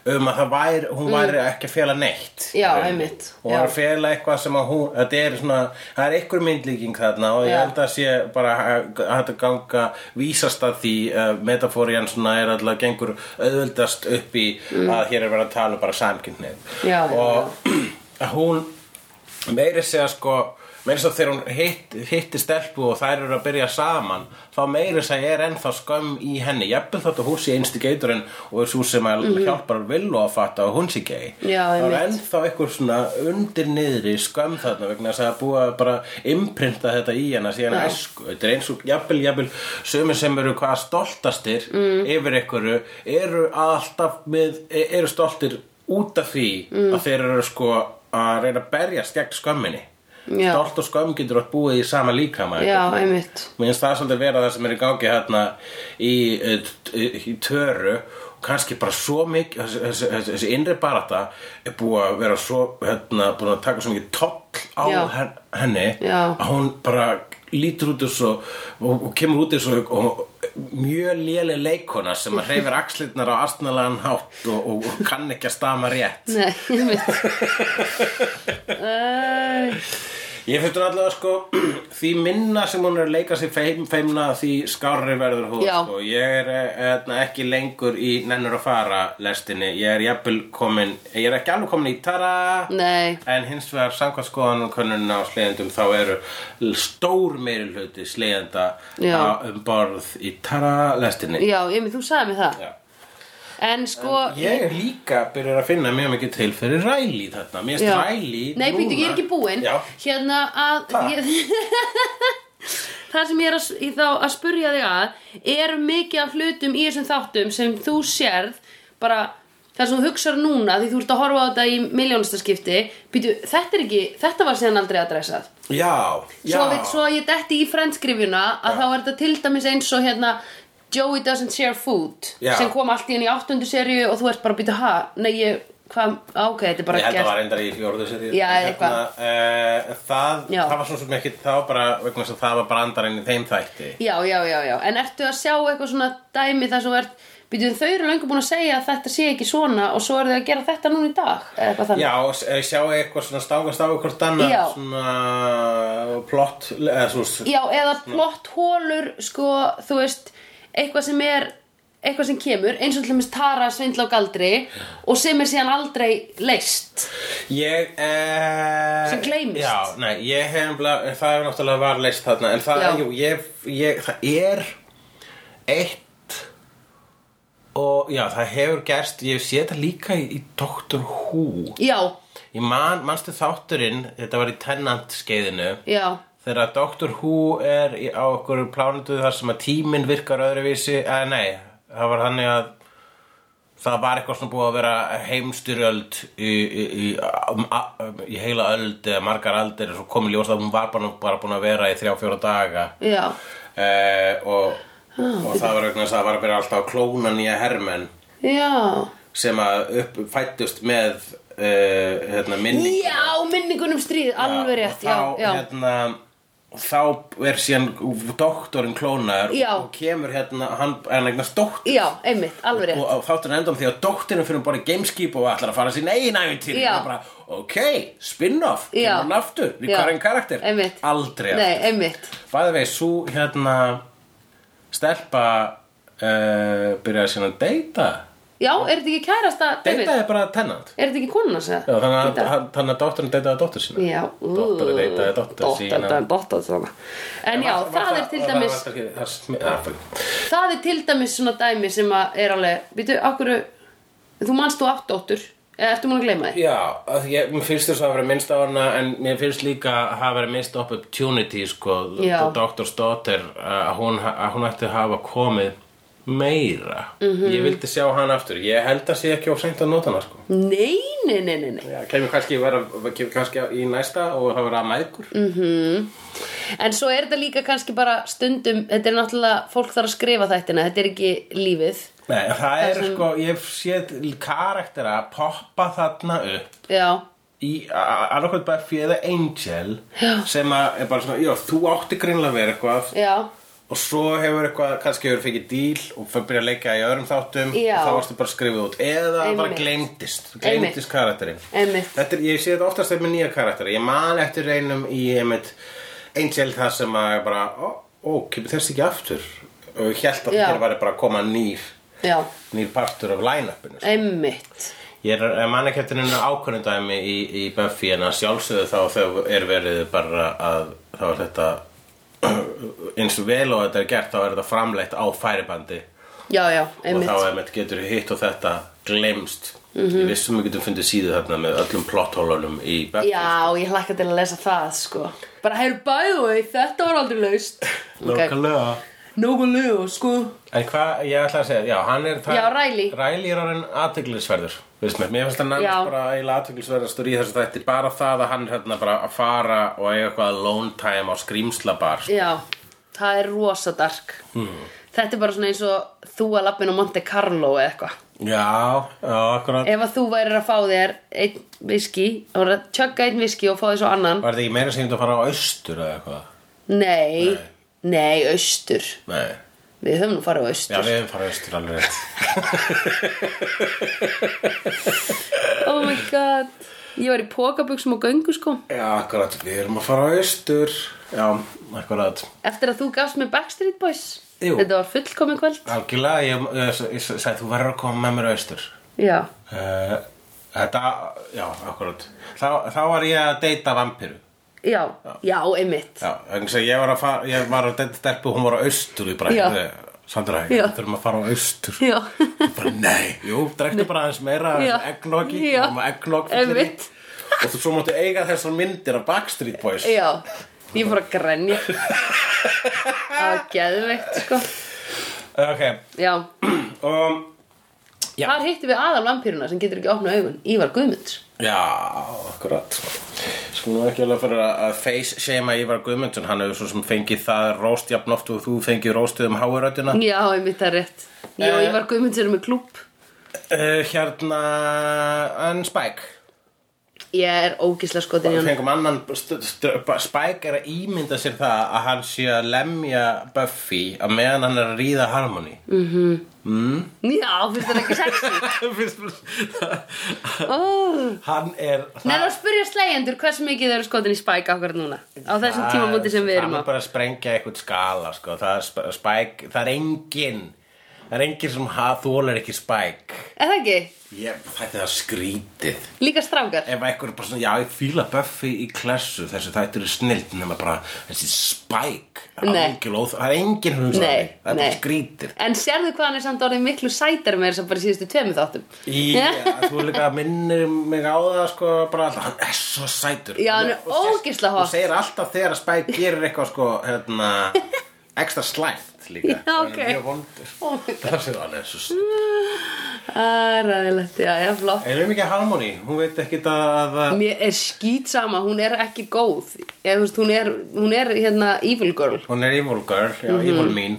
Speaker 2: um að það væri, hún væri ekki að fela neitt
Speaker 1: Mm. Já,
Speaker 2: Um,
Speaker 1: einmitt,
Speaker 2: og
Speaker 1: já.
Speaker 2: að fela eitthvað sem að hún þetta er svona, það er einhver myndlíking þarna og ég
Speaker 1: Já.
Speaker 2: held að sé bara að að þetta ganga vísast að því uh, metafórian svona er alltaf gengur auðvöldast upp í að hér er verið að tala um bara samkynnið
Speaker 1: Mm. Já, já,
Speaker 2: og að hún meiri segja sko meiri segja þegar hún hitt, hitti stelpu og þær eru að byrja saman þá meiri segja er ennþá skömm í henni jafnvel þátt að hún sé instigatorinn og er svo sem að hjálpar villu að fatta að hún sé gay
Speaker 1: Mhm. Já,
Speaker 2: þá er
Speaker 1: einmitt.
Speaker 2: ennþá einhver svona undir niðri skömm þarna vegna þess að búa að bara imprinta þetta í hana síðan
Speaker 1: Já.
Speaker 2: æsku Sko, þetta er eins og jafnvel jafnvel sömur sem eru hvað stoltastir
Speaker 1: Mm.
Speaker 2: yfir einhverju eru alltaf með e- eru stoltir út af því
Speaker 1: Mm.
Speaker 2: að þeir eru sko að reyna að berjast gegn skömminni
Speaker 1: Já.
Speaker 2: stolt og skömm getur að búa í sama líkama
Speaker 1: Já, einmitt
Speaker 2: Mér finnst það svolítið vera það sem er í gangi hérna í, eh, t- í töru og kannski bara svo mikið þessi, þessi, þessi, þessi innri barata er búið að vera svo hérna, búin að taka svo mikið toll á
Speaker 1: Já.
Speaker 2: hen- henni
Speaker 1: Já.
Speaker 2: að hún bara lítur út þessu og, og, og kemur út þessu og, og mjög léli leikona sem að hreyfir axlirnar á astnalagan hátt og, og, og kann ekki að stama rétt
Speaker 1: Nei, einmitt Æ,
Speaker 2: Ég fyrir allavega sko því minna sem hún er að leika sig feim, feimna því skárri verður hún
Speaker 1: Já.
Speaker 2: sko. Ég er etna, ekki lengur í nennur að fara lestinni Ég er jafnvel komin, ég er ekki alveg komin í tara
Speaker 1: Nei,
Speaker 2: En hins vegar samkvæmt skoðan og könnunum á slegjendum þá eru stór meiri hluti slegjenda
Speaker 1: Já.
Speaker 2: á- um borð í tara lestinni
Speaker 1: já, einmitt, þú sagði mér það
Speaker 2: Já.
Speaker 1: En sko
Speaker 2: Ég er líka byrjar að finna mjög mikið til fyrir ræli þarna Mér
Speaker 1: Já.
Speaker 2: erst ræli
Speaker 1: Nei, býttu, ég er ekki búinn
Speaker 2: Já.
Speaker 1: Hérna að
Speaker 2: Ha.
Speaker 1: ég, Það sem ég er að, s- í þá, að spurja þig að Er mikið af hlutum í þessum þáttum sem þú sérð bara það sem þú hugsar núna því þú ert að horfa á þetta í miljónustaskipti Býttu, þetta er ekki, þetta var síðan aldrei adressað
Speaker 2: Já, já
Speaker 1: Svo, við, svo ég detti í frendskriðuna að þá er þetta til dæmis eins og hérna Joey doesn't share food
Speaker 2: Já.
Speaker 1: sem kom allt í henni í áttundu seríu og þú ert bara að býta ha, nei ég, hvað, á, ok, þetta er bara
Speaker 2: Ég held að það var endar í fjórðu seríu
Speaker 1: Já,
Speaker 2: En
Speaker 1: eitthvað.
Speaker 2: hérna, uh, það,
Speaker 1: Já.
Speaker 2: það var svona sem ekki Það var bara vegna þess að það var brandarinn í þeim þætti
Speaker 1: Já, já, já, já, en ertu að sjá eitthvað svona dæmi þar sem þú ert Býtum þau eru löngu búin að segja að þetta sé ekki svona og svo eru þau að gera þetta núna í dag eða eitthvað þannig
Speaker 2: Já, og s- eh, sjá eitthvað svona stákast á hvort annað
Speaker 1: Já.
Speaker 2: Svona plott eh, eða, svo,
Speaker 1: Já, eða plott hólur, sko, þú veist, eitthvað sem er, eitthvað sem kemur, eins og til dæmis Tara svindla á galdri og sem er síðan aldrei leist.
Speaker 2: Ég eh,
Speaker 1: Sem gleymist.
Speaker 2: Já, nei, ég hef nefnilega- eh, Það er náttúrulega var leist þarna En það,
Speaker 1: Já.
Speaker 2: jú, ég, ég, það er Eitt Og já, það hefur gerst Ég sé þetta líka í, í Doctor Who
Speaker 1: Já,
Speaker 2: Ég man, manstu þátturinn, þetta var í Tennant skeiðinu,
Speaker 1: já,
Speaker 2: þegar Doctor Who er í- á okkur plánutu þar sem að tíminn virkar öðruvísi, eða nei, það var þannig að það var eitthvað svona búið að vera heimstyrjöld í, í, í, um, a- um, í heila öld eða margar aldir og svo komið ljóst að hún var bara, bara búin að vera í þrjá, fjóra daga
Speaker 1: já,
Speaker 2: eh, og, og það var eitthvað að það var að vera alltaf að klóna nýja hermenn
Speaker 1: já,
Speaker 2: sem að upp, fættust með uh, hérna, minni
Speaker 1: já, minningunum stríð, alveg rétt, já,
Speaker 2: og þá,
Speaker 1: já,
Speaker 2: Hérna, þá er síðan doktorinn klónaður
Speaker 1: Já.
Speaker 2: og kemur hérna, hann er eignast doktor
Speaker 1: já, einmitt, alveg rétt,
Speaker 2: og þátturinn endum því að doktorinn fyrir bara í gameskip og ætlar að fara sín eigin æfintýr
Speaker 1: Já.
Speaker 2: bara, ok, spin-off,
Speaker 1: Já.
Speaker 2: kemur hann aftur við hverjum karakter,
Speaker 1: einmitt,
Speaker 2: aldrei
Speaker 1: nei, einmitt,
Speaker 2: bæði vegi, svo hérna stelpa uh, byrjaði síðan að deyta
Speaker 1: já, er þetta ekki kærasta, David,
Speaker 2: deytaði bara tennant
Speaker 1: er þetta ekki konuna, segja,
Speaker 2: Já, þannig að,
Speaker 1: Deyta.
Speaker 2: hann- þannig að doktorinn deytaði dóttur sína
Speaker 1: já, ú,
Speaker 2: Dóttirin deytaði dóttur sína
Speaker 1: dóttar, dóttar, svona, en já, það er til dæmis,
Speaker 2: ah,
Speaker 1: það er til dæmis svona dæmi sem að er alveg, býtu, okkur þú manst þú átt dóttur eða ertu múin að gleyma þér?
Speaker 2: Já, að ég, mér finnst þess að vera minnst á hana en mér finnst líka að hafa verið minnst opportunity sko,
Speaker 1: Já.
Speaker 2: Dr. Stotter að hún, að hún ætti að hafa komið meira
Speaker 1: Mhm.
Speaker 2: -hmm. Ég vildi sjá hana aftur, ég held að sé ekki of seint að nota hana sko
Speaker 1: Nei, nei, nei, nei, nei.
Speaker 2: Já, kemur kannski, vera, kemur kannski í næsta og það vera mæðgur mm.
Speaker 1: En svo er þetta líka kannski bara stundum, þetta er náttúrulega, fólk þarf að skrifa þættina, þetta er ekki lífið.
Speaker 2: Nei, það er
Speaker 1: sem-
Speaker 2: sko, ég hef séð karaktera poppa þarna upp
Speaker 1: Já,
Speaker 2: í annarkvæmt Buffy eða Angel
Speaker 1: Já.
Speaker 2: sem að er bara svona, já, þú átti greinlega að vera eitthvað
Speaker 1: Já,
Speaker 2: og svo hefur eitthvað, kannski hefur fengið díl og fyrir að byrja að leika í öðrum þáttum
Speaker 1: Já.
Speaker 2: og þá varstu bara skrifið út eða
Speaker 1: Einmitt.
Speaker 2: bara gleymdist,
Speaker 1: Einmitt.
Speaker 2: gleymdist karakterinn
Speaker 1: Einmitt.
Speaker 2: þetta er, ég sé þetta oftast þegar með nýja karakteri ég man eftir einum í einmitt Angel þar sem að ég bara ó, ó kemur þessi ekki aftur og ég held að
Speaker 1: Já.
Speaker 2: þetta var bara að koma nýr
Speaker 1: já,
Speaker 2: nýr partur af line-upinu sko.
Speaker 1: einmitt
Speaker 2: Ég er ég man ekki eftir henni ákvörnum dæmi í, í Buffy en að sjálfsögðu þá þau er verið bara að þá er þetta eins og vel og þetta er gert þá er þetta framleitt á færibandi
Speaker 1: Já, já, einmitt Mhm.
Speaker 2: og þá er með getur hitt og þetta glemst Ég vissum við getum fundið síðu þarna með öllum plotthólunum í Buffy
Speaker 1: Já, ég hlakka til að lesa það, sko Bara, heyrðu, by the way, þetta var aldrei laust Ok,
Speaker 2: Nákvæmlega
Speaker 1: Nógulega, sko
Speaker 2: En hvað, ég ætla að segja, já, hann er það
Speaker 1: Já, Riley.
Speaker 2: Riley er orðin aðteglisverður Veist mér, mér finnst hann
Speaker 1: Já.
Speaker 2: annars bara eiginlega aðteglisverðastur í þessu þætti Bara það að hann er hérna bara að fara og eiga eitthvað alone time á skrýmslabar sko.
Speaker 1: Já, það er rosa dark hmm. Þetta er bara svona eins og þú að lappin á Monte Carlo eða eitthvað
Speaker 2: Já, já, akkurat
Speaker 1: Ef að þú værir að fá þér einn viski og að tjögga einn viski og fá þér svo annan
Speaker 2: Var þetta ekki meira sem þetta að fara á austur eða eitthvað?
Speaker 1: Nei, nei, austur
Speaker 2: Nei,
Speaker 1: Við höfum nú farið á
Speaker 2: já,
Speaker 1: austur
Speaker 2: við hefum farið austur alveg rétt
Speaker 1: Oh my god Ég var í pokabuxum og göngu sko
Speaker 2: Já, akkurat, við erum að fara á austur Já, akkurat
Speaker 1: Eftir að þú gafst mér Backstreet Boys
Speaker 2: Jú.
Speaker 1: Þetta var fullkomi kvöld
Speaker 2: Algjörlega, ég, ég, ég, ég sagði, þú verður að koma með mér á austur
Speaker 1: Já,
Speaker 2: Eh, Þetta, já, akkurat Þá, þá var ég að deyta vampiru
Speaker 1: já, já, einmitt
Speaker 2: Já, þannig að ég var að fara Ég var að deyta stelpu, hún var á austur Ég bara,
Speaker 1: Já.
Speaker 2: "Heyrðu, Sandra,
Speaker 1: Já.
Speaker 2: við þurfum að fara á austur
Speaker 1: Já,
Speaker 2: bara, Nei, jú, drektu bara aðeins meira
Speaker 1: Já.
Speaker 2: Eggnóki,
Speaker 1: Já.
Speaker 2: eggnók
Speaker 1: einmitt
Speaker 2: Og þú svo máttu eiga þessar myndir af Backstreet Boys
Speaker 1: Já, ég fór að grenja Það var geðveikt sko
Speaker 2: Eh, Ok, um,
Speaker 1: Já,
Speaker 2: og Já.
Speaker 1: þar hittum við aðal vampýruna sem getur ekki opnað augun Ívar Guðmunds
Speaker 2: Já, akkurat Sko nú ekki alveg fyrir að að face shame að Ívar Guðmundsson Hann hefur svo sem fengið það róst jafn oft og þú fengið róstið um háuröddina
Speaker 1: Já, einmitt það er rétt Ég og
Speaker 2: Eh.
Speaker 1: Ívar Guðmunds erum með klúpp
Speaker 2: Uh, hérna, en Spike
Speaker 1: Ég er ógislega skotin í
Speaker 2: Við
Speaker 1: hann
Speaker 2: fengum annan st- st- ba- Spike er að ímynda sér það að hann sé að lemja Buffy að meðan hann er að ríða Harmony
Speaker 1: Mm. Já, finnst það ekki sexy oh.
Speaker 2: Hann er
Speaker 1: Nei, það spurja slegjendur hversu mikið þau eru skotin í Spike akkur núna Á þessum tímamúti sem við erum
Speaker 2: Hann
Speaker 1: á
Speaker 2: Ah, er bara að sprengja eitthvað skala sko. það, er sp- Spike, það er engin Það er engin sem ha- þolar ekki Spike
Speaker 1: Er það ekki?
Speaker 2: Ég, Þetta er skrítið
Speaker 1: Líka strákar?
Speaker 2: ef einhver er bara svona, já ég fíla Buffy í klessu þessu þættur er snild nema bara þessi spæk það
Speaker 1: Nei.
Speaker 2: er engin óþ- það er engin hugsa
Speaker 1: Nei,
Speaker 2: það er
Speaker 1: nei.
Speaker 2: bara skrítir
Speaker 1: En sérðu hvað hann er samt orðið miklu sætar með þess að bara í síðustu tveimur þáttum
Speaker 2: Í, eh, þú líka minnir mig á það sko, bara alltaf, hann er svo sætur
Speaker 1: Já, hann er
Speaker 2: Og sést-
Speaker 1: ógeðslega hot.
Speaker 2: og segir alltaf þegar að Spike gerir eitthvað sko, hérna, ekstra slæmt líka,
Speaker 1: Já,
Speaker 2: Hann er
Speaker 1: ok.
Speaker 2: mjög vondur
Speaker 1: Oh my
Speaker 2: það séu hann er svo
Speaker 1: Æræðilegt, já, já, flott
Speaker 2: erum ekki Harmony, hún veit ekki að að-
Speaker 1: Mér er skýt sama, hún er ekki góð Ég, þú veist, hún, er, hún er hérna evil girl
Speaker 2: hún er evil girl, já, evil mean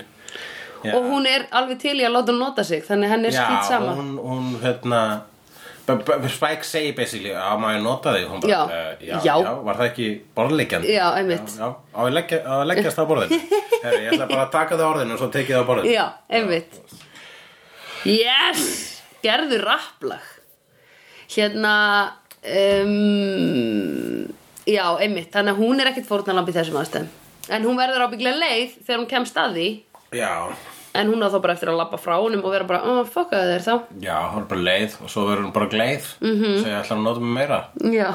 Speaker 1: Mhm.
Speaker 2: Já.
Speaker 1: Og hún er alveg til í að láta hún nota sig Þannig henn er skýt sama
Speaker 2: hún, hún hérna B- B- Spike segir basically að maður nota þig hún bara,
Speaker 1: Já.
Speaker 2: eh, já,
Speaker 1: Já.
Speaker 2: já. var það ekki borðleggjandi
Speaker 1: Já, einmitt.
Speaker 2: já, já. á að leggja, á að leggjast á borðinu Herri, ég ætla bara að taka það á orðinu og svo tekið það á borðinu
Speaker 1: Já, einmitt Yes, gerðu rapplag Hérna um, Já, einmitt Þannig að hún er ekkert fórnalamb í þessum aðstæðum En hún verður ábygglega leið þegar hún kemst að því
Speaker 2: já,
Speaker 1: En hún á þá bara eftir að labba frá honum og vera bara, oh, fuckaðu þér þá
Speaker 2: já, hún er bara leið og svo verður hún bara gleið mm -hmm.
Speaker 1: Mhm.
Speaker 2: svo ég ætla að nota mig meira
Speaker 1: Já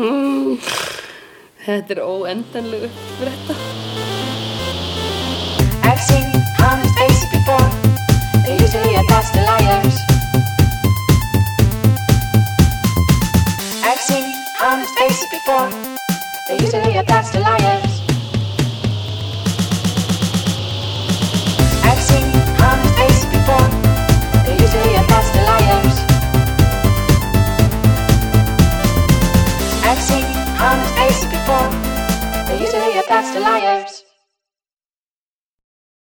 Speaker 1: Þetta er óendanlegu bretta
Speaker 3: I've seen honest faces before. They're usually a pass to liars. I've seen honest faces before. They're usually a pass to liars.